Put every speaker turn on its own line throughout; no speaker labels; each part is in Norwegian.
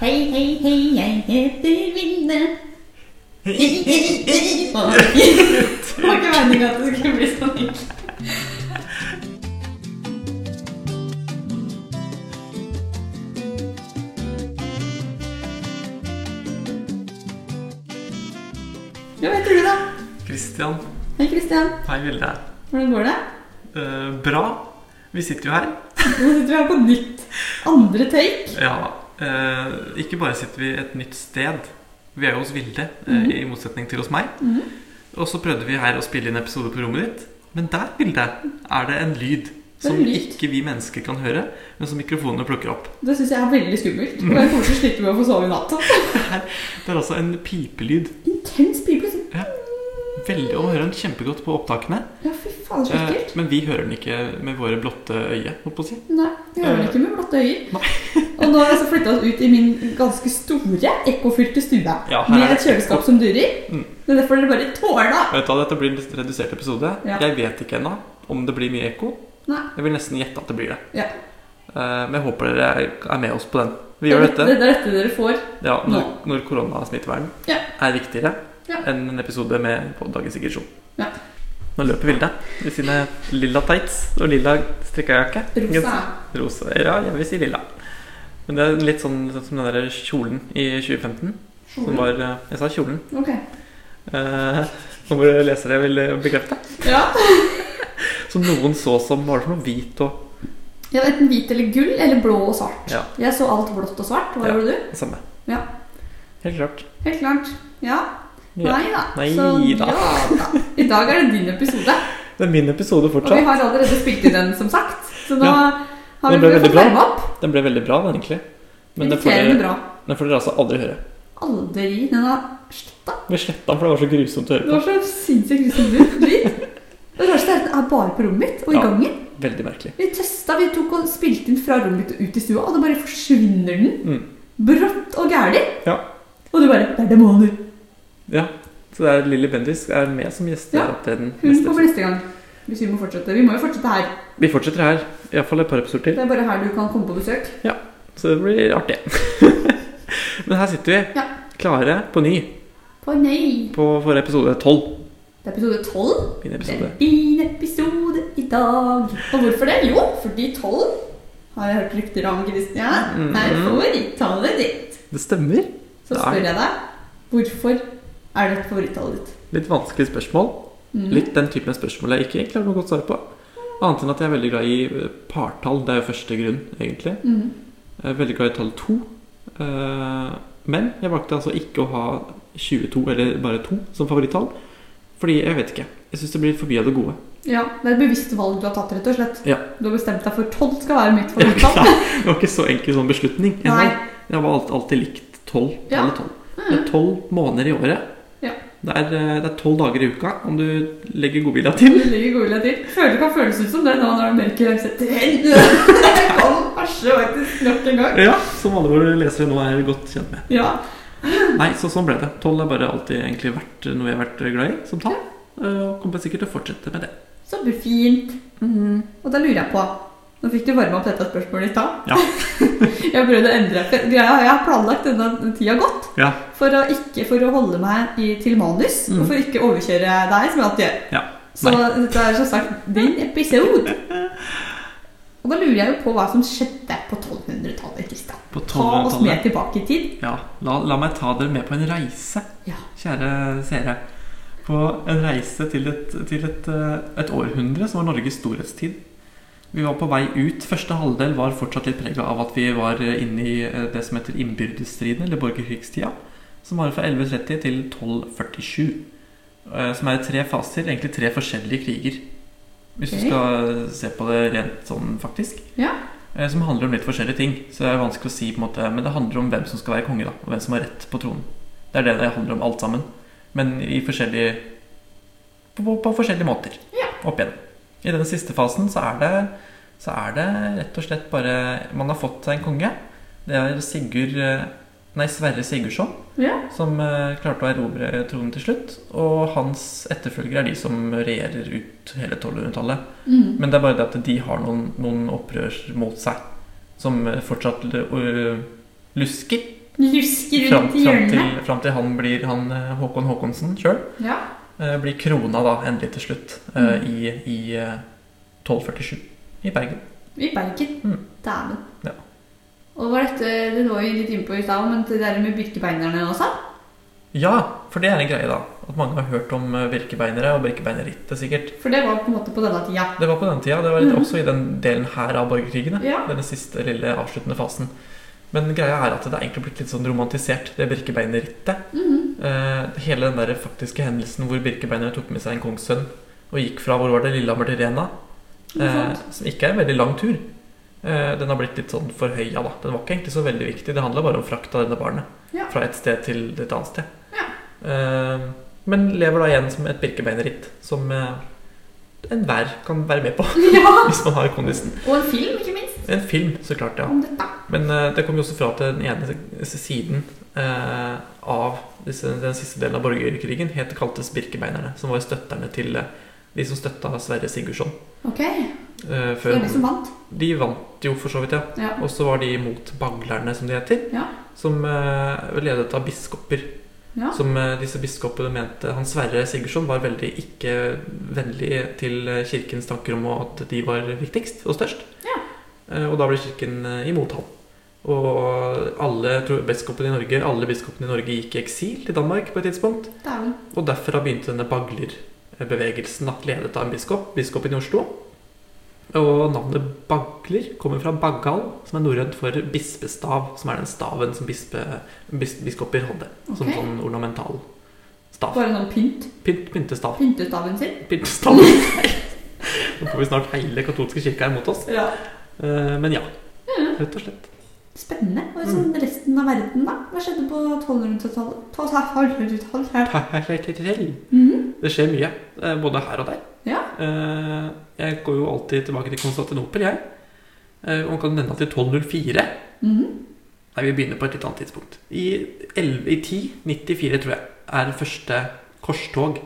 Hei, hei, hei, jeg heter Vinne. Hei, hei, hei. Åh, Det var ikke meningen at det skulle bli sånn. Ja, hva heter du da?
Kristian.
Hei, Kristian.
Hei, Vilde.
Hvordan går det?
Eh, bra. Vi sitter jo her.
Nå sitter vi her på nytt. Andre take.
Ja. eh, ikke bare sitter vi et nytt sted. Vi er jo hos Vilde, eh,
Mhm.
i motsetning til hos meg.
Mhm.
Og så prøvde vi her å spille inn episode på rommet ditt. Men der, Vilde, er det en lyd som
en lyd.
ikke vi mennesker kan høre, men som mikrofonene plukker opp.
Det syns jeg er veldig skummelt. Og jeg kommer til å slite med å få sove i natt.
Det er altså en pipelyd.
Intens pipe. liksom.
Veldig å høre den kjempegodt på opptakene.
Ja, fy faen, så
eh,
ekkelt.
men vi hører den ikke med våre blotte øye, holdt på å si.
Nei, vi
eh,
hører den ikke med blotte øyne. Og nå har jeg altså flytta oss ut i min ganske store, ekkofylte stue.
Ja, her er
med et
det ekko.
kjøleskap som durer.
Mm.
Det er derfor dere bare tåler det.
Vet du hva, Dette blir en litt redusert episode.
Ja.
Jeg vet ikke ennå om det blir mye ekko.
Nei.
Jeg vil nesten gjette at det blir det.
Ja.
Eh, Men jeg håper dere er- er med oss på den. Vi gjør
Det,
dette
det er dette dere får.
ja,
nå.
når, når koronasmittevern
Ja.
er viktigere
Ja.
enn en episode med på dagens digresjon.
Ja.
Nå løper Vilde i sine lilla tights og lilla strikkejakke.
Rosa.
Rosa. Ja, jeg vil si lilla. Men det er litt sånn, sånn som den der kjolen i 2015.
Mhm.
Som var, eh, jeg sa kjolen.
Ok.
Eh, Nå må dere lesere vil eh, bekrefte.
Ja.
Som noen så som var det for noe hvit og
ja, enten hvit eller gull, eller blå og svart.
Ja.
Jeg så alt blått og svart. Hva
Ja.
gjorde du?
det samme.
Ja.
Helt klart.
Helt klart. Ja.
Ja.
Nei da.
Nei
Så,
da.
ja da. I dag er det din episode.
Det er min episode
Og vi
fortsatt.
har allerede spilt inn den, som sagt. Så nå har vi
Det ble
fått
veldig bra.
varme opp.
Den ble veldig bra, den egentlig. Men den får,
Irriterende
dere,
bra.
den får dere altså aldri høre.
Aldri. Den har sletta.
Vi sletta den, for det var så grusomt å
Det
høre
var så sinnssykt grusomt ut. dritt. Det rareste er at den er bare på rommet mitt og i
Ja.
gangen.
på. Veldig merkelig.
Vi testa, vi tok og spilte inn fra rommet mitt og ut i stua, og da bare forsvinner den.
Mm.
Brått og gæli.
Ja.
Og du bare Det er demoner.
Ja, Så det er Lilly Bendis er med som gjesteopptreden.
Hun
neste
kommer
episode.
neste gang. Hvis vi må fortsette. Vi må jo fortsette her.
Vi fortsetter her, iallfall et par episoder til.
Det er bare her du kan komme på besøk.
Så det blir artig. Men her sitter vi,
Ja.
klare på ny,
Å nei!
på forrige episode 12.
Det er episode tolv.
Min
Det er en
episode.
fin episode i dag. Og hvorfor det? Jo, fordi tolv har jeg hørt rykter om, Christian.
Mhm.
Er favorittallet ditt.
Det stemmer.
Så
Det er
spør
det.
jeg deg, hvorfor er det favorittallet ditt?
Litt vanskelig spørsmål.
Mm.
Litt den typen spørsmål jeg ikke klarer noe godt svar på. Annet enn at jeg er veldig glad i eh, partall. Det er jo første grunn, egentlig.
Mhm.
Jeg er veldig glad i tall 2. eh, Men jeg valgte altså ikke å ha 22, eller bare 2, som favorittall. Fordi jeg vet ikke. Jeg syns det blir for mye av det gode.
Ja, det er et bevisst valg du har tatt, rett og slett.
Ja.
Du har bestemt deg for tolv skal være mitt
Nei,
favorittall.
det var ikke så enkel sånn beslutning. Jeg
Nei.
har, jeg har alt, alltid likt 12.
Ja. Mm.
Tallet 12. Det er 12 måneder i året.
Ja.
Det er, eh, det er 12 dager i uka, om du legger godvilja
Du
til.
ligger godvilja til. Føler det kan føles ut som det nå når mørket setter inn. Der kom Asle faktisk nok en gang.
Ja, Som alle våre lesere nå er godt kjent med.
Ja.
Nei, så sånn ble det. 12 har bare alltid egentlig vært noe jeg har vært glad i som tall. eh, Og kommer sikkert til å fortsette med det.
Så fint. Mhm. Og da lurer jeg på Nå fikk du varma opp dette spørsmålet i stad.
Ja.
jeg prøvde å endre for greia. Jeg har planlagt denne tida godt
Ja.
for å, ikke, for å holde meg i, til manus
Mm.
og for å ikke overkjøre deg, som jeg alltid gjør.
Ja.
Så dette er som sagt din episode. Og da lurer jeg jo på hva som skjedde på 1200-tallet. Kristian.
På
Ta oss
1200-tallet.
med tilbake i tid.
Ja, la, la meg ta dere med på en reise,
Ja.
kjære seere. På en reise til et, til et, eh, et århundre som var Norges storhetstid. Vi var på vei ut. Første halvdel var fortsatt litt prega av at vi var eh, inne i eh, det som heter innbyrdesstriden, eller borgerkrigstida, som varer fra 1130 til 1247. eh, Som er tre faser, egentlig tre forskjellige kriger. Hvis
Ok.
du skal eh, se på det rent sånn, faktisk.
Ja.
Eh, Som handler om litt forskjellige ting. Så det er vanskelig å si på en måte Men det handler om hvem som skal være konge, da. Og hvem som har rett på tronen. Det er det det handler om, alt sammen. Men i forskjellige På, på, på forskjellige måter.
Ja.
Opp igjen. I den siste fasen så er det Så er det rett og slett bare Man har fått seg en konge. Det er Sigurd eh, Nei, Sverre Sigurdsson
ja.
som eh, klarte å erobre tronen til slutt. Og hans etterfølgere er de som regjerer ut hele 1200-tallet.
Mm.
Men det er bare det at de har noen, noen opprør mot seg, som fortsatt øh, eh, lusker
Lusker
Fram,
rundt i
fram, til,
hjørnet.
fram til han blir han eh, Håkon Håkonsen sjøl
Ja.
blir krona da endelig til slutt eh, i, i eh, 1247 i Bergen.
I Bergen.
Mm.
Dæven.
Ja.
Og var dette Det lå jo litt innpå i stad, men det der med birkebeinerne også?
Ja, for det er en greie, da. At mange har hørt om eh, birkebeinere og birkebeinerrittet, sikkert.
For det var på en måte på denne tida.
Det var på den tida. Det var litt
Mhm.
også i den delen her av borgerkrigene.
Ja.
Denne siste lille avsluttende fasen. Men greia er at det er egentlig blitt litt sånn romantisert, det birkebeinerrittet.
Mhm.
Eh, hele den der faktiske hendelsen hvor birkebeinere tok med seg en kongssønn og gikk fra hvor var det, Lillehammer til Rena,
Noe
eh,
sånt.
som ikke er en veldig lang tur. Eh, den har blitt litt sånn forhøya, da. Den var ikke egentlig så veldig viktig. Det handla bare om frakt av dette barnet
Ja.
fra et sted til et annet sted. Eh, men lever da igjen som et birkebeinerritt som eh, enhver kan være med på
ja.
hvis man har kondisen.
Og en film, ikke minst,
En film, så klart, ja.
om dette.
Men eh, det kom jo også fra til den ene s- siden eh, av disse, den siste delen av borgerkrigen het det kaltes Birkebeinerne, som var støtterne til eh, de som støtta Sverre Sigurdsson.
Ok,
eh,
det
før,
var de som vant.
de vant jo for så vidt, ja.
Ja.
Og så var de mot Baglerne, som de heter.
Ja.
Som eh, ledet av biskoper.
Ja.
Som eh, disse biskopene mente Han Sverre Sigurdsson var veldig ikke vennlig til eh, kirkens tanker om at de var viktigst og størst.
Ja.
Eh, og da ble kirken eh, imot ham. Og alle tro- biskopene i Norge Alle biskopene i Norge gikk i eksil til Danmark på et tidspunkt.
Dæven.
Og derfra begynte denne baglerbevegelsen, da, ledet av en biskop, biskopen i Oslo. Og navnet bagler kommer fra baggal, som er norrønt for bispestav, som er den staven som bispe, bis, biskoper hadde. Som
Ok.
sånn ornamental stav.
Bare sånn pynt.
Pynt, pyntestav.
Pyntestaven sin.
Pyntestav. Nå får vi snart hele katolske kirka imot oss.
Ja.
Eh, Men ja, rett og slett.
Spennende. Og sånn
Mm.
resten av verden, da? Hva skjedde på 1200-tallet? 1200-tallet her.
Det
Mhm.
skjer mye, eh, både her og der.
Ja.
Eh, Jeg går jo alltid tilbake til Konstantinopel, jeg. Eh, Og kan nevne at i 1204
Mhm.
Nei, vi begynner på et litt annet tidspunkt. I, 11, i 1094, tror jeg, er det første korstog.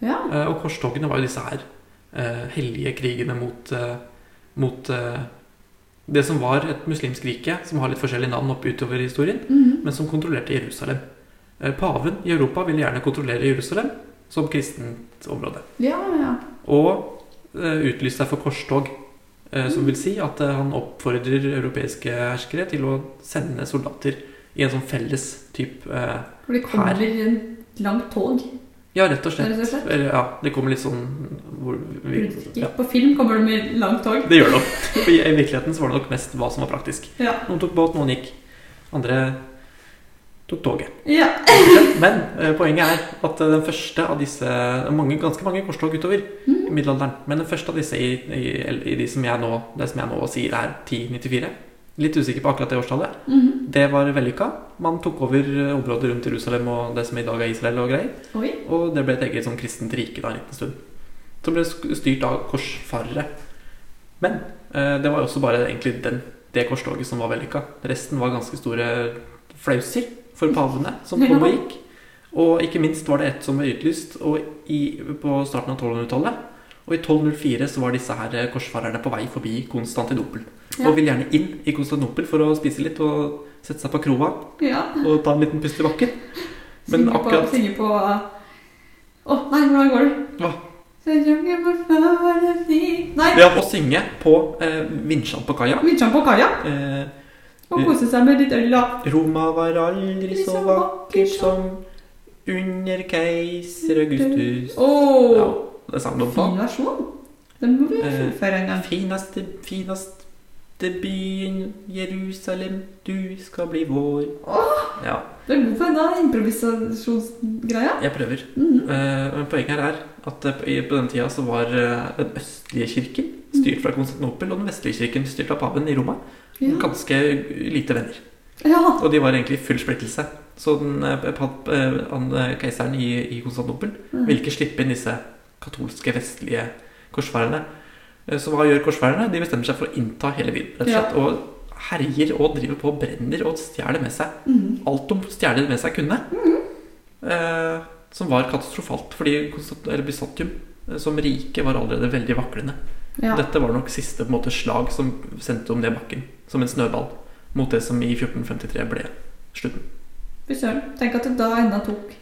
Ja.
Eh, Og korstogene var jo disse her eh, hellige krigene mot, eh, mot eh, det som var et muslimsk rike, som har litt forskjellige navn opp utover i historien,
Mhm.
men som kontrollerte Jerusalem. Eh, Paven i Europa ville gjerne kontrollere Jerusalem som kristent område.
ja, ja.
Og eh, utlyste seg for korstog. Eh, som vil si at eh, han oppfordrer europeiske herskere til å sende soldater i en sånn felles type eh,
For det kommer
Her.
et langt tog.
Ja, rett og slett.
Rett og slett.
Eller, ja, det kommer litt sånn hvor vi, ja,
Ikke På film kommer det med langt tog.
Det gjør det nok. For I i virkeligheten så var det nok mest hva som var praktisk.
Ja.
Noen tok båt, noen gikk. Andre tok toget.
ja.
Men eh, poenget er at eh, den første av disse mange, Ganske mange korstog utover
Mm,
i middelalderen. Men den første av disse i, i, i de som jeg nå, det som jeg nå sier er 1094 Litt usikker på akkurat det årstallet.
Mhm.
Det var vellykka. Man tok over eh, området rundt Jerusalem og det som i dag er Israel og greier.
Oi.
Og det ble et eget sånn kristent rike da en liten stund. Som ble sk- styrt av korsfarere. Men eh, det var jo også bare egentlig den, det korstoget som var vellykka. Resten var ganske store flauser for pavene som kom og gikk. Og ikke minst var det et som var utlyst og i, på starten av 1200-tallet. Og i 1204 så var disse her eh, korsfarerne på vei forbi Konstantinopel.
Ja.
Og ville gjerne inn i Konstantinopel for å spise litt og sette seg på kroa
Ja.
og ta en liten pust i bakken. Men
Synge
akkurat-
på, Synge på Å nei, hvordan går det?
Hva?
Nei,
Ja, å synge på eh, vinsjene på kaia.
Midtjern på kaia
Eh,
og kose seg med litt øl. da. sånn
Roma var aldri så vakker som under keiser Augustus.
sånn. Åh,
Ja, det sang de på.
Fin versjon. Den må vi
Eh,
fullføre en gang.
Fineste, fineste byen Jerusalem, du skal bli vår. Ja,
Du er god på denne improvisasjonsgreia.
jeg prøver.
Mhm.
Eh, men poenget her er at eh, på- i- på den tida så var eh, den østlige kirken styrt fra Konstantinopel, og den vestlige kirken styrt av paven i Roma.
Ja.
Ganske lite venner.
ja.
Og de var egentlig i full splittelse. Så den, eh, pa- eh, han, eh, keiseren i, i Konstantinopel
Mm.
ville ikke slippe inn disse katolske, vestlige korsfarerne. Eh, Så hva gjør korsfarerne? De bestemmer seg for å innta hele byen. rett og
Ja.
slett, Og herjer og driver på og brenner og stjeler med seg
Mhm.
alt de stjeler med seg kunne. Eh, som var katastrofalt, fordi Konstant- eller Bysantium eh, som rike var allerede veldig vaklende.
ja.
Dette var nok siste på en måte, slag som sendte om det bakken, som en snøball, mot det som i 1453 ble slutten.
Fy søren. Tenk at det da ennå tok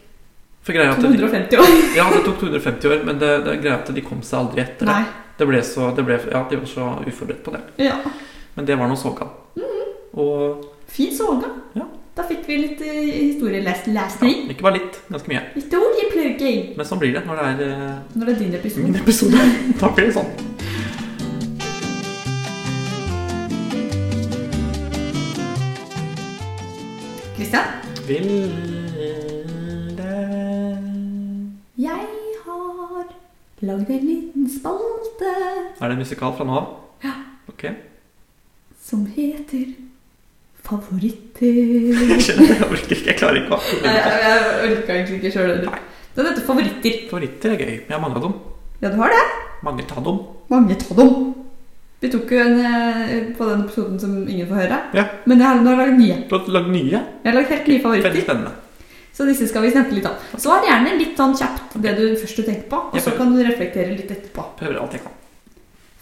For greia er at de,
250 år.
ja, det tok 250 år, men det, det er greia at de kom seg aldri etter det.
Nei.
det ble så, det ble, ja, de var så uforberedt på det.
Ja.
Men det var nå såkall.
Mhm.
Og
Fin sårgang.
Ja.
Da fikk vi litt eh,
ja,
historielesning.
ikke bare litt, ganske mye.
Litt ord i plugging.
Men sånn blir det når det er eh,
Når det er din
min
episode.
episode. Da blir det sånn.
Kristian,
Vilde
jeg har lagd en liten spalte
Er det musikal fra nå av?
Ja.
Ok.
som heter Favoritter.
Jeg skjønner, jeg orker ikke. Jeg klarer ikke
Nei,
å
jeg, jeg orka egentlig ikke sjøl heller. Den heter Favoritter.
Favoritter er gøy. Jeg har mange av dem.
Ja, du har det?
Mange av dem.
Mange av dem. Vi tok jo en eh, på den episoden som ingen får høre.
Ja.
Men jeg har nå lagd nye.
Du har lagd nye.
Jeg har lagd helt nye
Veldig
favoritter.
spennende.
Så disse skal vi snakke litt om. Svar gjerne litt sånn kjapt det du først du tenker på, og
Jeg
så
prøver.
kan du reflektere litt etterpå.
Prøver alt jeg kan.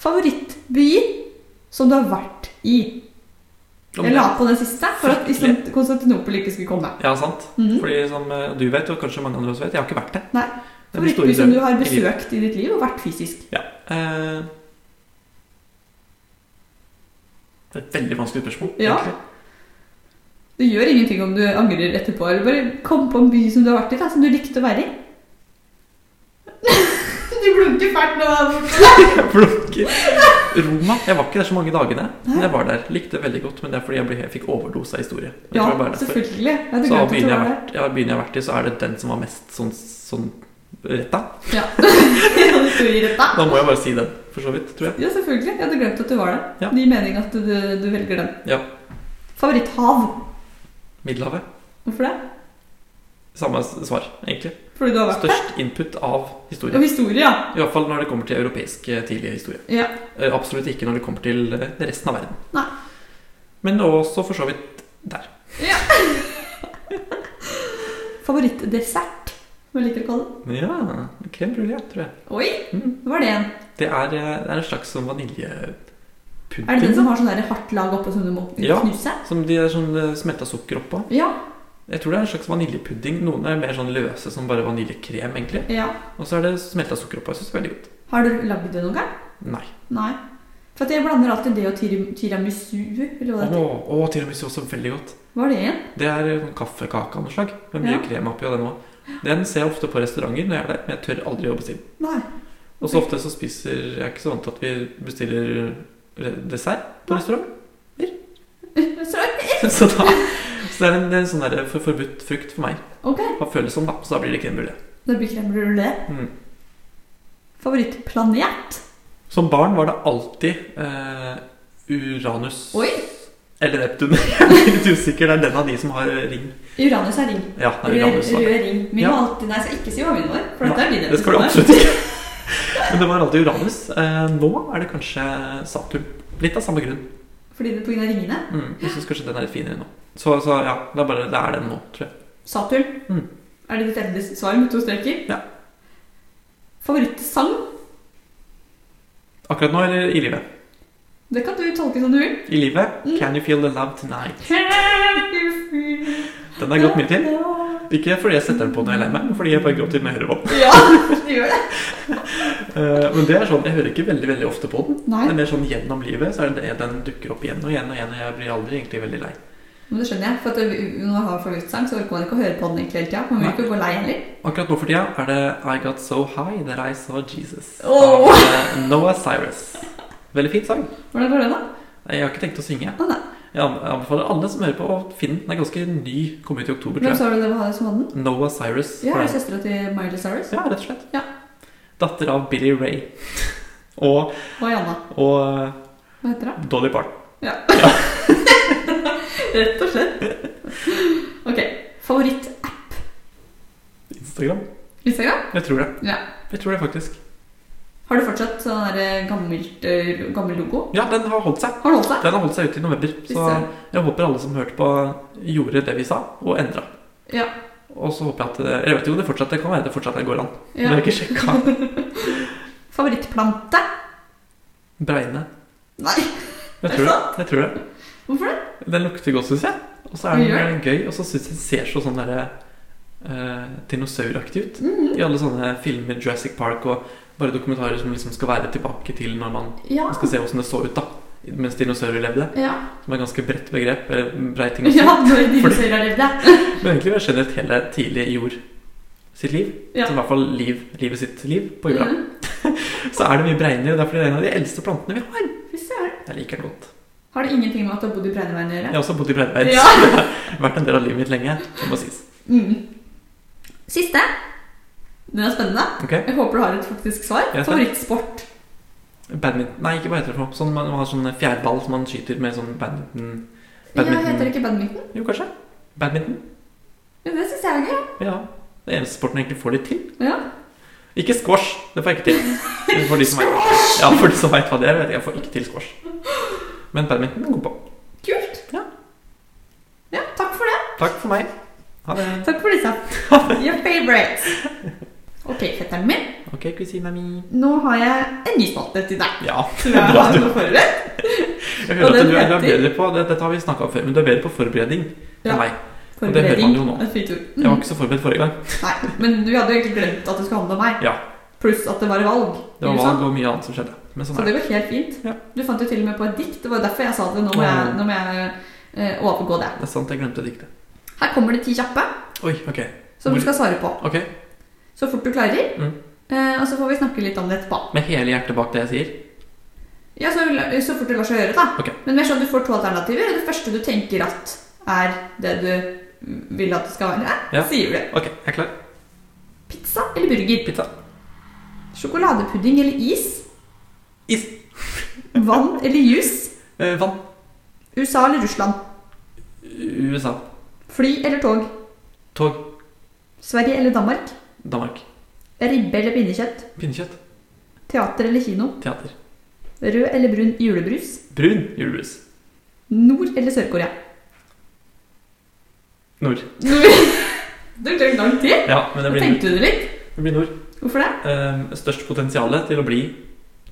Favorittbyer som du har vært i.
Om
Jeg
det-
la på den siste for at Istan- Konstantinopel ikke skulle komme.
Ja, sant.
Mhm.
Fordi som eh, du vet, og kanskje mange andre også vet, jeg har ikke vært det.
Nei.
Det er min store
Favorittby som
drøm
du har
i livet.
besøkt i ditt liv, og vært fysisk.
Ja. eh, det er et veldig vanskelig spørsmål.
Ja.
egentlig.
Det gjør ingenting om du angrer etterpå. Eller bare kom på en by som du har vært i, da, som du likte å være i. du blunker fælt nå.
Jeg blunker. Roma. Jeg var ikke der så mange dagene,
Nei.
men jeg var der. Likte det veldig godt, men det er fordi jeg, ble, jeg fikk overdose av historie. Jeg
Ja,
tror det var bare derfor.
selvfølgelig. Jeg hadde
Så av
glemt at
byen
du
jeg, har
var der.
vært, ja, byen jeg har vært i, så er det den som var mest sånn, sånn retta.
Ja. Ja, det sto i dette.
Da må jeg bare si den, for så vidt, tror jeg.
Ja, selvfølgelig. Jeg hadde glemt at du var der.
Ja.
Det gir mening at du, du velger den.
Ja.
Favoritthav.
Middelhavet.
Hvorfor det?
Samme s- svar, egentlig.
Fordi du har vært der?
Størst input av
Og
historie.
historie, ja.
I hvert fall når det kommer til europeisk eh, tidlig historie.
Ja.
Eh, Absolutt ikke når det kommer til eh, resten av verden.
Nei.
Men også for så vidt der.
Favorittdessert, som jeg liker å kalle det.
Ja, Crème brulé, tror jeg.
Oi,
Mm.
hva var det igjen?
Det er, eh, det er en slags sånn vaniljepudding.
Er det den som har sånn der hardt lag oppå som du må
Ja.
knuse?
Som de er sånn eh, smelta sukker oppå.
Ja.
Jeg tror det er en slags vaniljepudding. Noen er mer sånn løse som bare vaniljekrem, egentlig.
ja.
Og så er det smelta sukker oppå. Jeg synes det er veldig godt.
Har du lagd det noen gang?
Nei.
Nei. For at jeg blander alltid det og tir tiramisu. Eller hva,
Å,
det heter.
å, tiramisu også veldig godt.
hva er det igjen?
Det er eh, sånn kaffekake av noe slag. Med mye
Ja.
krem oppi og den også. Den ser jeg ofte på restauranter når jeg er der, men jeg tør aldri å bestille.
Nei.
Og så ofte så spiser Jeg er ikke så vant til at vi bestiller re- dessert på restaurant.
Sorry.
Så da Så det er en, det er en sånn der for, forbudt frukt for meg.
Ok,
Hva føles som, da. Så da blir det crème brulé.
da blir crème brulé.
Mm.
Favorittplanet?
Som barn var det alltid eh, Uranus
Oi,
eller Neptun. Jeg er litt usikker. Det er den av de som har ring.
Uranus er ring.
Ja, det er
Rød,
Uranus. da.
rød ring. Vi
Ja.
må alltid Nei, jeg skal ikke si hva vi når, for dette
Nei,
er din
Det skal du
episode.
absolutt ikke. Men det var alltid Uranus. Eh, nå er det kanskje Saturn. Litt av samme grunn.
Fordi det på grunn av ringene.
Mm, jeg syns kanskje den er litt finere nå. Så, så ja, det er, bare, det er den nå, tror jeg.
Saturn.
Mm.
Er det ditt endelige svar med to streker?
Ja.
Favorittsang?
Akkurat nå eller i livet?
Det kan du tolke som du vil.
I livet
Mm.
Can you feel the love tonight?
Det
Den har gått mye til. Ikke fordi jeg setter den på når jeg er lei meg, men fordi jeg bare gråter når jeg hører på.
Ja, du gjør det.
Eh, men det er sånn, jeg hører ikke veldig veldig ofte på den.
Nei,
Det er mer sånn gjennom livet, så er det det den dukker opp igjen og igjen og igjen. Og jeg blir aldri egentlig veldig lei.
men det skjønner jeg. For at det- når man har favorittsang, så orker man ikke å høre på den egentlig hele tida. Man vil ikke gå lei heller.
Akkurat nå for tida er det I Got So High That I Saw Jesus
Åh.
av eh, Noah Cyrus. Veldig fin sang.
Hvordan går det da?
Jeg har ikke tenkt å synge.
Å, nei.
Jeg an- anbefaler alle som hører på, å finne den. Den er ganske ny. Kom ut i oktober, tror jeg.
Hvem sa du det var som hadde den?
Noah Cyrus.
Ja,
var
er det
det.
søstera til Miley Cyrus?
ja rett og slett.
Ja.
Datter av Billy Ray. og,
Og Janna.
og eh,
Hva heter hun?
Dolly Parton.
Rett og slett. Ok. Favoritt-app?
Instagram.
Instagram?
Jeg tror det.
Ja.
Jeg tror det faktisk.
Har du fortsatt sånn der gammelt, eh, gammel logo?
Ja, den har holdt seg.
Har du holdt deg?
Den har holdt seg ute i november. Så
Visst er
jeg håper alle som hørte på, gjorde det vi sa, og endra.
Ja.
Og så håper jeg at det- Jeg vet jo det fortsatt det kan være det fortsatt det går an. Men jeg
Ja.
har ikke sjekka.
Favorittplante?
Bregne.
Nei.
Jeg
Er det
tror det. Jeg tror det.
Hvorfor det?
Den lukter godt, syns jeg. Og så er den
Gjør
gøy, og så syns jeg den ser så sånn derre eh, dinosauraktig ut.
Mhm.
I alle sånne filmer, Jurassic Park og bare dokumentarer som liksom skal være tilbake til når man
Ja.
skal se åssen det så ut da mens dinosaurer levde.
Ja.
Som er et ganske bredt begrep. Eller brei ting å si.
ja når dinosaurer har levd, ja.
Men egentlig var generelt hele tidlig jord sitt liv.
Ja.
Så i hvert fall liv, livet sitt liv på jorda.
Mhm.
Så er det mye bregner, og derfor er det en av de eldste plantene vi har.
Fy søren.
Jeg liker den godt.
Har det ingenting med at du har bodd i Breineveien å
Jeg
gjøre?
har også bodd i Bredveien.
Ja.
Vært en del av livet mitt lenge. Det må sies.
Mm. Siste. Den er spennende.
Ok?
Jeg håper du har et faktisk svar.
Jeg er spent.
Favorittsport.
Badminton Nei, ikke hva heter det for noe. Sånn, man har sånn fjærball som man skyter med sånn badminton...
Ja, heter det ikke badminton?
Jo, kanskje. Badminton.
Ja, det syns jeg er gøy.
Ja. Det er eneste sporten jeg egentlig får litt til.
Ja.
Ikke squash. Det får jeg ikke til. For de som vet, ja, for de som vet hva det er, vet jeg, jeg får ikke til squash. Men badminton er god på.
Kult.
Ja.
ja. Takk for det.
Takk for meg. Ha det.
Takk for disse. Your favorites. Ok, fetteren min.
Ok, kusina mi.
Nå har jeg en ny spalte til deg.
Ja.
Som jeg
Bra,
har
du.
noe forberedt.
Jeg hører
Og
at
den
du, er- du er
heter-
bedre på det, Dette har vi snakka om før, men du er bedre på forberedning
Ja.
enn meg. Og det hører
Forberedning.
man jo nå.
Et fint ord.
Jeg var ikke så forberedt forrige gang.
Mm, Nei, men du hadde jo egentlig glemt at det skulle handle om meg.
Ja.
Pluss at det var valg.
Det var
ikke sant?
valg og mye annet som skjedde. Men sånn
Så
er det.
det går helt fint.
Ja. Mm.
Du fant jo til og med på et dikt. Det var jo derfor jeg sa det. Nå må jeg, nå må jeg eh, overgå det.
Det er sant, jeg glemte diktet.
Her kommer det ti kjappe
Oi, ok.
som
Hvor-
du skal svare på.
Ok,
Så fort du klarer.
Mm.
Eh, og så får vi snakke litt om det etterpå.
Med hele hjertet bak det jeg sier?
Ja, så, så fort det lar seg gjøre, da.
Ok.
Men mer sånn du får to alternativer, og det første du tenker at er det du vil at det skal være,
Ja.
sier du.
Ok, jeg er klar.
Pizza eller burger?
Pizza.
Sjokoladepudding eller is?
Is.
Vann eller juice?
Eh, vann.
USA eller Russland?
USA.
Fly eller tog?
Tog.
Sverige eller Danmark?
Danmark.
Ribbe eller pinnekjøtt?
Pinnekjøtt.
Teater eller kino?
Teater.
Rød eller brun julebrus?
Brun julebrus.
Nord- eller Sør-Korea?
Nord.
Du tok lang tid.
Ja, men det
Da
blir nord.
tenkte du det litt.
Det blir nord.
Hvorfor det?
Eh, størst potensial til å bli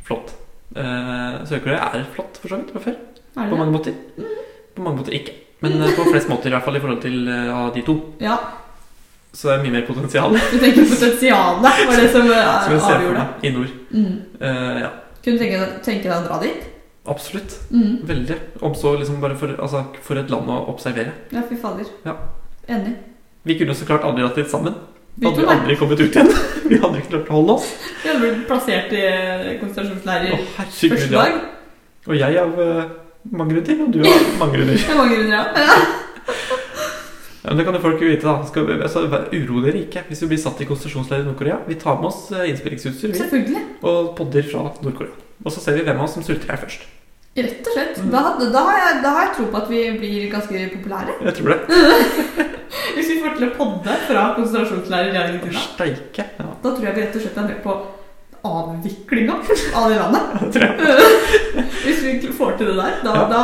flott. Uh, Sør-Korea er flott, for så vidt, fra før.
Er
På
det det?
mange måter. På mange måter ikke. Men eh, på flest måter, i hvert fall i forhold til eh, av de to.
Ja,
Så det er mye mer potensial.
du tenker potensialet var det som eh,
Skal vi se for
avgjorde.
meg i nord.
Mm.
Eh, ja,
Kunne du tenke, deg- tenke deg å dra dit?
absolutt.
Mm.
Veldig. Om så liksom bare for, altså, for et land å observere.
Ja, fy fader.
Ja.
Enig.
Vi kunne så klart aldri hatt det sammen.
Vi
Hadde
to,
vi
da.
aldri kommet ut igjen. Vi hadde ikke klart å holde oss.
Vi hadde blitt plassert i
Å,
konsentrasjonsleirer
herregud,
første
ja.
dag.
Og jeg av eh, mange grunner, og du av mange grunner.
Det er mange grunner, ja.
Ja, men det kan jo folk jo vite, da. Skal vi, altså, vær- uro dere ikke hvis vi blir satt i konsentrasjonsleir i Nord-Korea. Vi tar med oss eh, innspillingsutstyr vi,
Selvfølgelig.
og podder fra Nord-Korea. Og så ser vi hvem av oss som sulter her først.
Rett og slett.
Mm.
Da, hadde- da, har jeg, da har jeg tro på at vi blir ganske populære.
Jeg tror det.
Hvis vi får til å podde fra konsentrasjonsleirer i Argentina,
Steike. Ja,
da tror jeg vi rett og slett er med på avviklinga av det landet.
det tror jeg.
Hvis vi får til det der, da,
Ja.
da,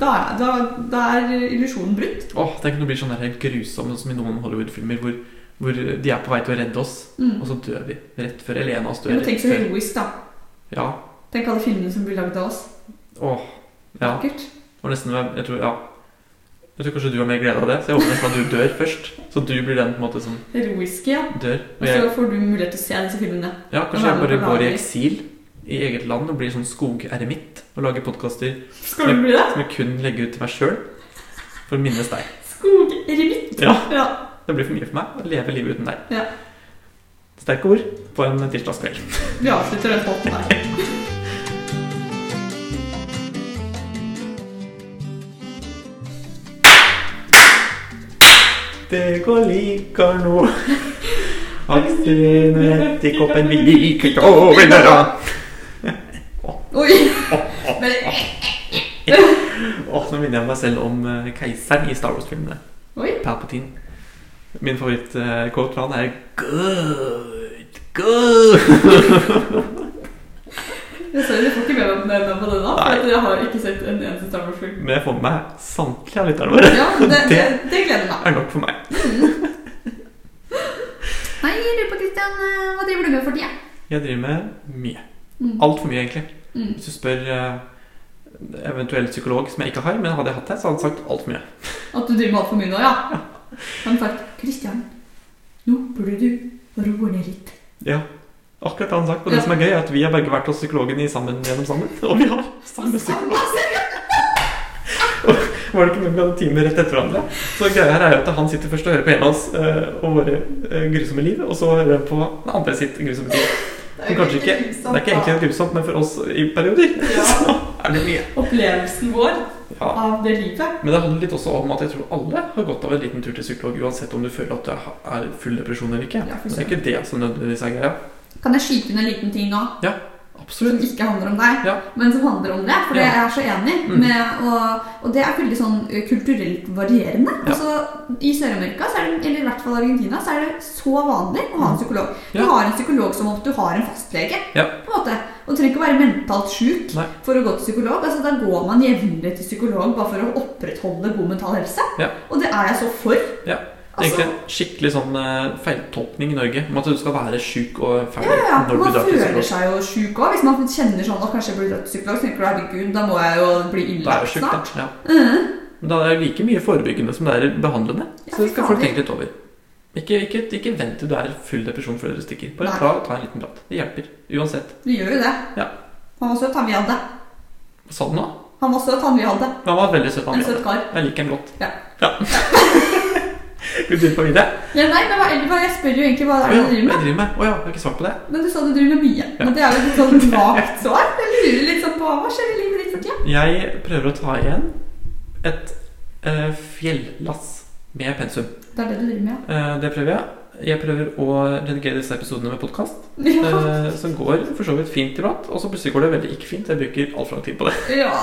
da, er- da, da er illusjonen brutt.
Åh, tenk om det blir sånn der grusom, sånn som i noen Hollywood-filmer, hvor, hvor de er på vei til å redde oss,
Mm.
og så dør vi rett før. Eller en av oss dør
Men tenk
rett
så
før.
heroisk, da.
Ja.
Tenk alle filmene som blir lagd av oss.
Åh. Ja.
Vakkert.
Det var nesten Jeg tror Ja. Jeg tror kanskje du har mer glede av det, så jeg håper nesten at du dør først. Så du blir den på en måte som
Heroiske, ja.
dør. Og
Og
jeg,
så får du mulighet til å se disse filmene.
ja,
Og
kanskje jeg
være
bare
med på
går i
lager.
eksil i eget land og blir sånn skogeremitt og lager podkaster
Skal du bli det?
som jeg kun legger ut til meg sjøl for å minnes deg.
Skogeremitt.
Ja.
Ja.
Det blir for mye for meg å leve livet uten deg.
Ja.
Sterke ord på en tirsdagskveld.
Vi avslutter den spalten der.
Det går liker nå. Aksene til koppen vi liker ikke å vinne da.
Oi! Men,
Åh, nå minner jeg meg selv om eh, keiseren i Star Wars-filmene.
oi.
Palpatine. Min favoritt-quote fra han er Good, good.
Jeg ser jeg får ikke med meg med på det da, for
Nei.
at jeg har ikke sett en eneste Star Wars-film.
Men jeg får med meg samtlige av lytterne våre.
Ja, det, det,
Det-
det gleder meg.
er nok for meg.
Nei, jeg lurer på Christian, eh, hva driver du med for tida?
Jeg driver med mye.
Mm.
Altfor mye, egentlig.
Mm.
Hvis du spør eh, eventuell psykolog som jeg ikke har, men hadde jeg hatt det, så hadde han sagt altfor mye.
At du driver med altfor mye nå, ja. Han sa Kristian, nå burde du roe ned litt.
Ja, akkurat det han sagt. Og det
Ja.
som er gøy, er at vi har begge vært hos psykologen i sammen gjennom sammen. Og vi har samme psykolog. Var det ikke noen ganger timer rett etter hverandre? Så greia her er jo at han sitter først og hører på en av oss eh, og våre eh, grusomme liv, og så hører han på den andre sitt grusomme liv.
Det
Men kanskje ikke, det er ikke egentlig noe grusomt, men for oss i perioder
Sånn. Ja.
så er det mye.
Opplevelsen vår
Ja.
av det livet.
Men det handler litt også om at jeg tror alle har godt av en liten tur til psykolog, uansett om du føler at du er- er full depresjon eller ikke.
Ja, for
det er ikke det som nødvendigvis er greia.
Kan jeg skyte inn en liten ting nå? Som
Absolutt.
ikke handler om deg,
Ja.
men som handler om det. For det
Ja.
jeg er så enig.
Mm.
Med, og, og det er veldig sånn ø, kulturelt varierende.
Ja.
Altså, I Sør-Amerika, så er det- eller i hvert fall Argentina, så er det så vanlig å ha en psykolog. Du
Mm. Ja.
har en psykolog som om du har en fastlege.
Ja.
På en måte. Og du trenger ikke å være mentalt sjuk
Nei.
for å gå til psykolog. Altså, da går man jevnlig til psykolog bare for å opprettholde god mental helse.
Ja.
Og det er jeg så for.
Ja. Det er
Altså,
egentlig en skikkelig sånn eh, feiltolkning i Norge om at du skal være sjuk og fæl
Ja, ja,
når du
Man
drar til
føler
psykolog.
seg jo sjuk òg. Hvis man kjenner sånn at kanskje jeg blir dratt til psykolog, så tenker du herregud, da må jeg jo bli
Da er
innlagt
det sjukt,
snart.
da. Ja.
Mhm.
Men da er det like mye forebyggende som det er behandlende.
Ja,
Så det skal folk
fader.
tenke litt over. Ikke, ikke, ikke vent til du er full depresjon før dere stikker. Bare
Nei.
ta, ta en liten prat. Det hjelper. Uansett.
Du gjør jo det.
Ja.
Han var søt, han vi hadde.
Hva sa du Sånn nå?
Han var søt, han vi hadde.
Han var veldig søt.
En
Han,
søt kar.
jeg liker han godt.
Ja.
Skal vi begynne på videre?
Ja, nei, men hva, eller, hva- jeg spør jo egentlig hva det er
Å ja,
du
hva jeg
driver med.
driver med? Å ja, jeg har ikke svart på det.
Men du sa du driver med mye. Men det er jo et litt sånn vagt svar. Jeg lurer litt sånn på hva skjer i livet ditt for tida.
Jeg prøver å ta igjen et eh, fjellass med pensum.
Det er det du driver med,
Eh, det prøver jeg. Jeg prøver å redigere disse episodene med podkast,
ja. ja.
eh, som går for så vidt fint iblant. Og så plutselig går det veldig ikke fint. Jeg bruker altfor lang tid på det.
Ja.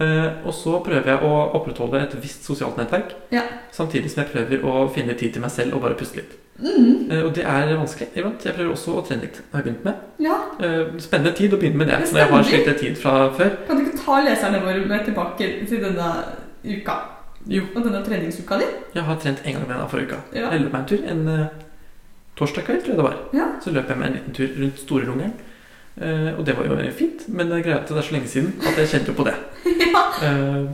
Eh, og så prøver jeg å opprettholde et visst sosialt nettverk,
Ja.
samtidig som jeg prøver å finne tid til meg selv og bare puste litt.
Mm.
Eh, og det er vanskelig iblant. Jeg prøver også å trene litt. har jeg begynt med.
ja.
Eh, spennende tid å begynne med det,
Det
når jeg har slitt
stemmer.
litt tid fra før.
Kan du ikke ta leserne våre med tilbake til denne uka?
Jo,
Og denne treningsuka di?
jeg har trent en gang med deg forrige uka.
Ja.
Jeg løp meg en tur en eh, torsdag kveld, tror jeg det var.
Ja.
Så løp jeg meg en liten tur rundt Storelungeren. Eh, og det var jo fint, men det er greia at det er så lenge siden at jeg kjente jo på det. Eh,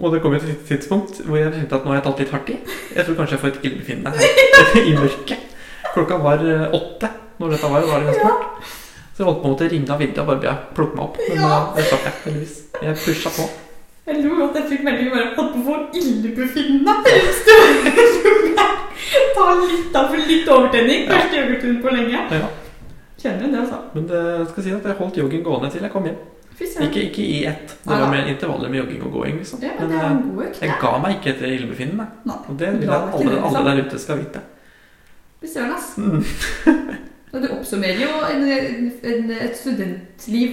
og det kom jo til et tidspunkt hvor jeg kjente at nå har jeg tatt litt hardt i. Jeg tror kanskje jeg får et ildbefinnende her i mørket. Klokka var eh, åtte når dette var, og da var det ganske mørkt. Så jeg holdt på å måtte ringe av Vilde og bare be henne plukke meg opp. Men
Ja.
eh, det slapp jeg, heldigvis. Jeg pusha på.
Jeg lo at jeg fikk melding bare at på vår illebefinnende størrelse. Ta litt av for litt overtenning.
Ja.
Første yoghurtturen på lenge.
Ja.
Kjenner jo det, altså.
Men det jeg skal si at jeg holdt joggen gående til jeg kom hjem.
Fy søren.
Ikke, ikke i ett. Det
Nei,
var
da.
mer intervaller med jogging og gåing. liksom.
Ja, men
Men
det er en
eh,
god økt.
jeg
det.
ga meg ikke etter illebefinnende.
Nei.
Og det vil
Bra,
jeg
ikke
alle,
det,
alle
liksom.
der ute skal vite.
Fy søren, ass.
Mm.
Og Du oppsummerer jo en, en, et studentliv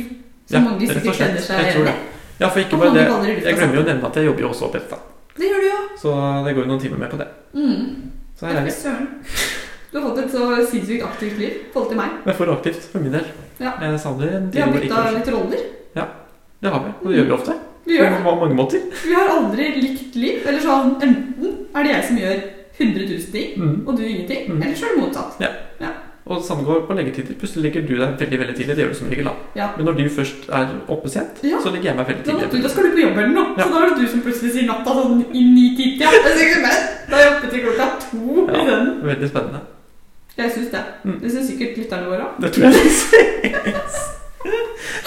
Ja,
som mange
rett og
sikkert kjenner
slett.
seg
Jeg tror
igjen i.
det. Ja, for ikke
Og
bare
mange
det.
baller i lufta,
Jeg glemmer jo å
sant?
nevne at jeg jobber jo også opp etter.
Det gjør du jo.
Så det går jo noen timer med på det.
Mm.
Så her er
Fy
vi.
søren. Du har fått et så sinnssykt aktivt liv i forhold til meg.
Men for aktivt, for min del.
Ja.
Jeg savner en
Vi har
tid hvor ikke
bytta
var
litt roller.
sånn. Det har vi, og det gjør vi ofte.
Vi
På
gjør det.
ma- mange måter.
Vi har aldri likt liv. Eller sånn, Enten er det jeg som gjør 100 000 ting,
Mm.
og du ingenting.
Mm.
Eller så er det motsatt.
Og det samme går på leggetider. Plutselig ligger du der veldig veldig tidlig. Det gjør du som regel, da.
Ja.
Men når du først er oppe sent,
Ja.
så ligger jeg meg veldig
Da, måtte,
tidlig.
da skal du på jobb eller noe,
Ja.
så da er det du som plutselig sier natta sånn i ni-tida. Da er jeg oppe til klokka to
Ja.
i den.
Veldig spennende.
Jeg syns det.
Mm.
Det syns sikkert lytterne våre òg.
Det tror jeg vi ses.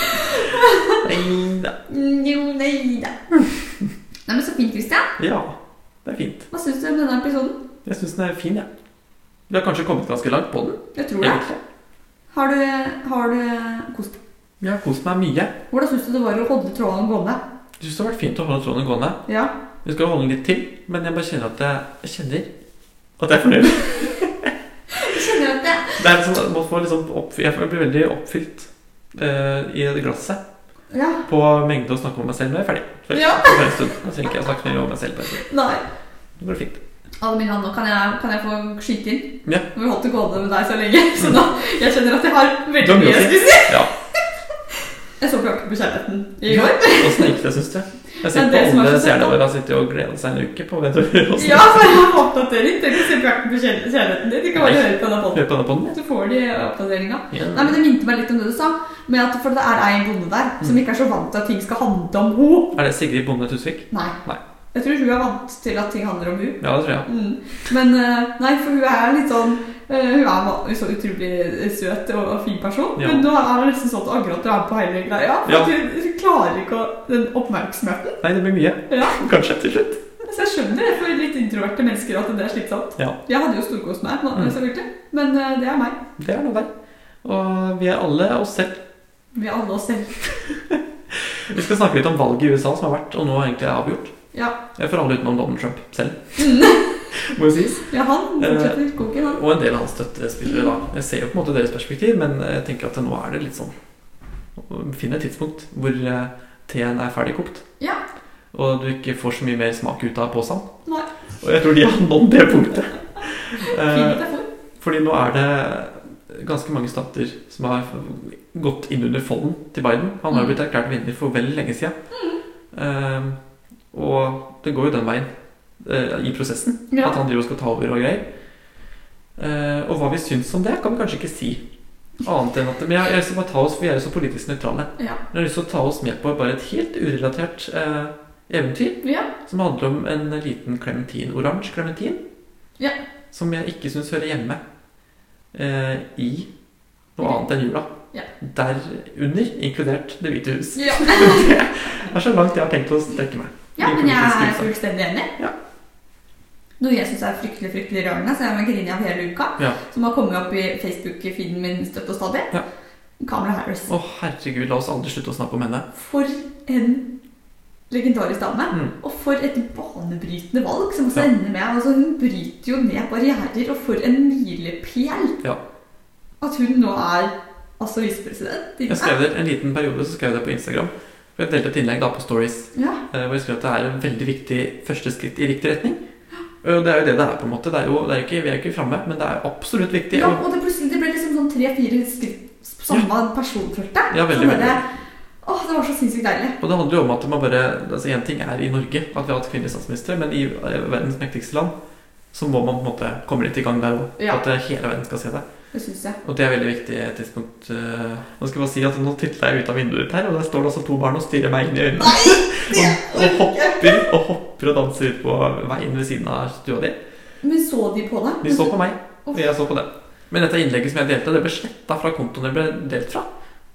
Nei da.
Mm, Jo, nei da. Nei, men så fint, Christian.
Ja. Det er fint.
Hva syns du om denne episoden?
Jeg syns den er fin, jeg. Vi har kanskje kommet ganske langt på den,
Jeg tror det.
egentlig.
Har du, har du kost deg?
Jeg har kost meg mye.
Hvordan syns du det var å holde trådene gående?
Jeg syns det har vært fint å holde tråden gående.
Ja.
Vi skal holde den litt til, men jeg bare kjenner at jeg, jeg kjenner at jeg er fornøyd.
Jeg kjenner at det
Det er liksom, man får liksom oppf- jeg blir veldig oppfylt eh, i det glasset
Ja.
på mengde å snakke om meg selv når jeg er ferdig. For,
Ja.
for en stund. Da trenger ikke jeg å snakke mer om meg selv. på en stund.
Nei.
Det går fint.
Alle mine nå kan jeg, kan jeg få skyte inn?
Ja.
Nå har vi holdt det gående med deg så lenge, så da, jeg kjenner at jeg har
Du
veldig
har mye
mye
å
jeg
si.
skulle si.
Ja.
Jeg så på Jakten på kjærligheten i går.
Åssen gikk det, syns du? Jeg sitter
Det er det
på
som er
alle
så søtt, da.
seerne våre har sittet og gleda seg en uke på hvem som hører
Ja, for jeg har oppdatering. Tenk å se på jakten på kjærl- kjærligheten din. De kan bare
Nei.
høre på denne podden.
på denne podden.
Så får de oppdateringa.
Ja.
Nei, men Det minte meg litt om det du sa. Med at for det er ei bonde der
Mm.
som ikke er så vant til at ting skal handle om henne.
Er det Sigrid Bonde Tusvik?
Nei.
Nei.
Jeg tror hun er vant til at ting handler om henne.
Ja, det tror jeg.
Mm. Men eh, nei, for hun er litt sånn eh, Hun er va- så utrolig søt og, og fin person,
Ja.
men nå er det nesten sånn at du angrer at du er med på hele greia. For
Ja.
at hun, hun klarer ikke å, den oppmerksomheten.
Nei, det blir mye.
Ja.
Kanskje til slutt.
Så jeg skjønner det for litt introverte mennesker at det er slitsomt.
Ja.
Jeg hadde jo storkost meg, nå,
Mm.
selvfølgelig. Men eh, det er meg.
Det er noe der. Og vi er alle oss selv.
Vi er alle oss selv.
Vi skal snakke litt om valget i USA som har vært, og nå egentlig er avgjort.
Ja.
Jeg får alle utenom Donald Trump selv. Må jo sies.
ja, han fortsetter koken, han.
Og en del av hans støttespillere, da. Jeg ser jo på en måte deres perspektiv, men eh, jeg tenker at nå er det litt sånn Finn et tidspunkt hvor eh, teen er ferdigkokt,
Ja.
og du ikke får så mye mer smak ut av posen.
Nei.
Og jeg tror de har nådd det punktet. Eh,
Fint er for.
Fordi nå er det ganske mange stater som har gått inn under folden til Biden. Han har jo
Mm.
blitt erklært vinner for veldig lenge siden. Eh, og det går jo den veien eh, i prosessen.
Ja.
At han driver og skal ta over og greier. Eh, og hva vi syns om det, kan vi kanskje ikke si. Annet enn at Men jeg, jeg har lyst til å bare ta oss, vi er jo så politisk nøytrale.
Ja.
Jeg har lyst til å ta oss med på bare et helt urelatert eh, eventyr
ja.
som handler om en liten klementin. Oransje klementin.
Ja.
Som jeg ikke syns hører hjemme eh, i noe
Ok.
annet enn jula.
Ja.
Derunder inkludert Det hvite hus.
ja.
Det er så langt jeg har tenkt å strekke meg.
Ja,
I
men jeg
politisk
er
USA.
fullstendig enig.
Ja.
Noe jeg syns er fryktelig fryktelig rørende, som jeg må grine av hele uka,
Ja.
som har kommet opp i Facebook-feeden min støtt og stadig,
Ja.
Kamala Harris.
Å, herregud, la oss aldri slutte å snakke om henne.
For en legendarisk dame.
Mm.
Og for et banebrytende valg som også
Ja.
ender med altså Hun bryter jo ned barrierer, og for en milepæl
Ja.
at hun nå er altså visepresident. i
Jeg skrev det en liten periode så skrev jeg det på Instagram. For Jeg delte et innlegg da på Stories
Ja.
eh, hvor jeg skrev at det er en veldig viktig første skritt i riktig retning. Og det er jo det det er. på en måte. Det er jo, det er ikke, vi er ikke framme, men det er absolutt viktig.
ja,
og-
og det plutselig det ble liksom sånn tre-fire skritt på samme personfeltet.
Ja, veldig,
Så bare-
veldig.
Åh, det var så sinnssykt deilig.
Og det handler jo om at man bare, altså En ting er i Norge at vi har hatt kvinnelige statsministre, men i eh, verdens mektigste land så må man på en måte komme litt i gang der òg.
Ja.
At eh, hele verden skal se det.
Det syns jeg.
Og det er veldig viktig et tidspunkt. eh. Nå skal jeg bare si at nå titler jeg ut av vinduet her, og der står det altså to barn og stirrer meg inn i øynene. og, og hopper og hopper og danser ut på veien ved siden av stua di.
Men så de på deg?
De så på meg, og jeg så på dem. Men dette innlegget som jeg delte, det ble sletta fra kontoen det ble delt fra.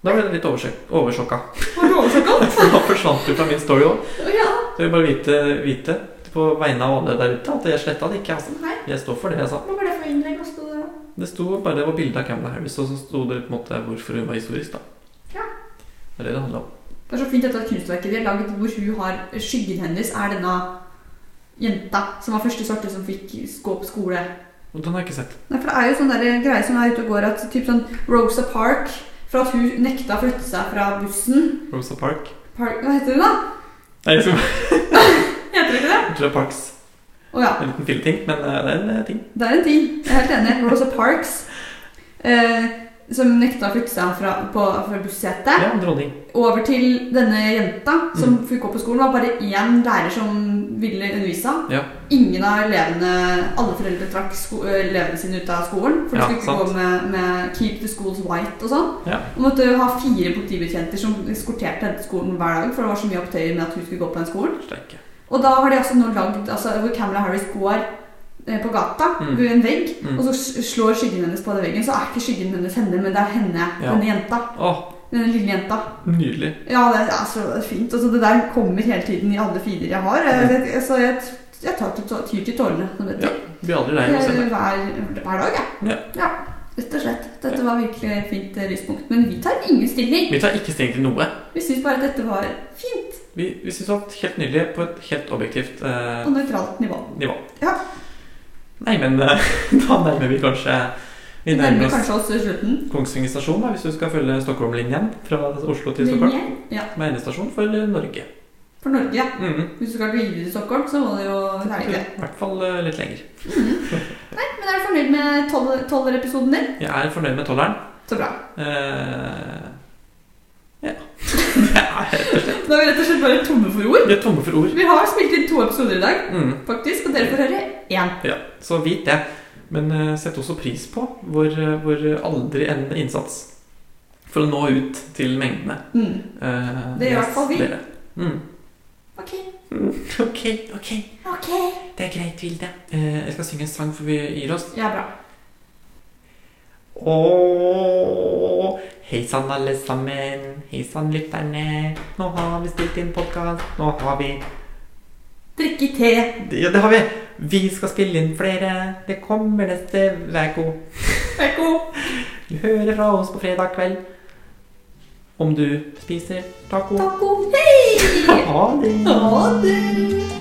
Da ble jeg litt oversjok- oversjokka.
Var du oversjokka?
For da forsvant det fra min story òg.
Ja.
Så jeg vil bare vite, vite på vegne av alle der ute at jeg sletta det ikke. altså.
Nei.
Jeg står for det jeg sa.
Hva var det for innlegg? Hva sto det?
Det sto bare det var bilde av Camilla Harris, og så sto det på en måte hvorfor hun var historisk. da
Ja.
Det er det det handler om.
Det er så fint dette kunstverket de har laget, hvor hun har skyggen hennes er denne jenta som var første svarte som fikk gå på skole.
Og den har jeg ikke sett.
Nei, for det er jo sånn der greie som er ute og går at typ sånn Rosa Park for at hun nekta å flytte seg fra bussen
Rosa Park.
Park, Hva heter hun, da?
Nei, jeg skal-
Heter det ikke det?
jeg tror det er Parks.
Å ja.
En liten filleting, men eh, det er en eh, ting.
Det er en ting. Jeg er helt enig. Rosa Parks eh, som nekta å flytte seg fra, på, fra bussetet.
Ja, en dronning.
Over til denne jenta som
Mm.
fikk gå på skolen. var bare én lærer som ville undervise. henne.
Ja.
Ingen av elevene Alle foreldre trakk sko eh, elevene sine ut av skolen. For de
Ja,
skulle ikke
sant.
gå med, med 'keep the schools white' og sånn.
Ja.
Og måtte jo ha fire politibetjenter som eskorterte henne til skolen hver dag. For det var så mye opptøyer med at hun skulle gå på den skolen.
Steike.
Og da har de altså nå lagd altså, Hvor Camilla Harris går eh, på gata
Mm.
ved en vegg,
Mm.
og så s- slår skyggen hennes på den veggen. Så er ikke skyggen hennes henne, men det er henne,
Ja.
denne jenta.
Å,
Denne lille jenta.
nydelig.
Ja, det er så fint. Altså, det der kommer hele tiden i alle feeder jeg har. Jeg, jeg, så jeg, jeg tar til, tå- tyr til tårene. Som det
Ja,
heter.
Blir aldri lei av å se
Jeg-
det.
hver, hver dag, jeg.
Ja.
Rett og slett. Dette var virkelig et fint eh, lyspunkt. Men vi tar ingen stilling.
Vi tar ikke stilling til noe.
Vi syns bare at dette var fint
Vi, vi syns det var helt nydelig på et helt objektivt eh,
og nøytralt nivå.
nivå.
Ja.
Nei, men eh, da nærmer vi kanskje Vi
Vi
nærmer
nærmer
oss
kanskje oss slutten.
Kongsvinger stasjon, da, hvis du skal følge Stockholm-linjen fra Oslo til
Men
Stockholm.
igjen, ja,
Som er endestasjon for eh, Norge.
for Norge, ja.
Mhm.
Hvis du skal videre til Stockholm, så må du jo være
I
det.
hvert fall eh, litt lenger.
Men er du fornøyd med tolv- tolverepisoden din?
Eh, Jeg er fornøyd med tolleren.
Så bra.
Eh,
Da er vi rett og slett bare tomme for ord.
Vi er tomme for ord.
Vi har spilt inn to episoder i dag,
Mm.
faktisk, og dere får høre én.
Ja, så vit det. Men eh, sett også pris på vår, eh, vår aldri endende innsats for å nå ut til mengdene.
Mm.
eh,
Det gjør i hvert fall vi.
dere. Mm.
Ok.
Ok, ok.
Ok.
Det er greit, Vilde. Eh, jeg skal synge en sang før vi gir oss.
Ja, bra.
Ååå. Hei sann, alle sammen. Hei sann, lytterne. Nå har vi stilt inn podkast. Nå har vi
Drikke te.
Ja, det har vi! Vi skal spille inn flere. Det kommer neste uke.
Vær god.
Du hører fra oss på fredag kveld. Om du spiser taco.
Taco. Hei!
Ha det!
Ha det!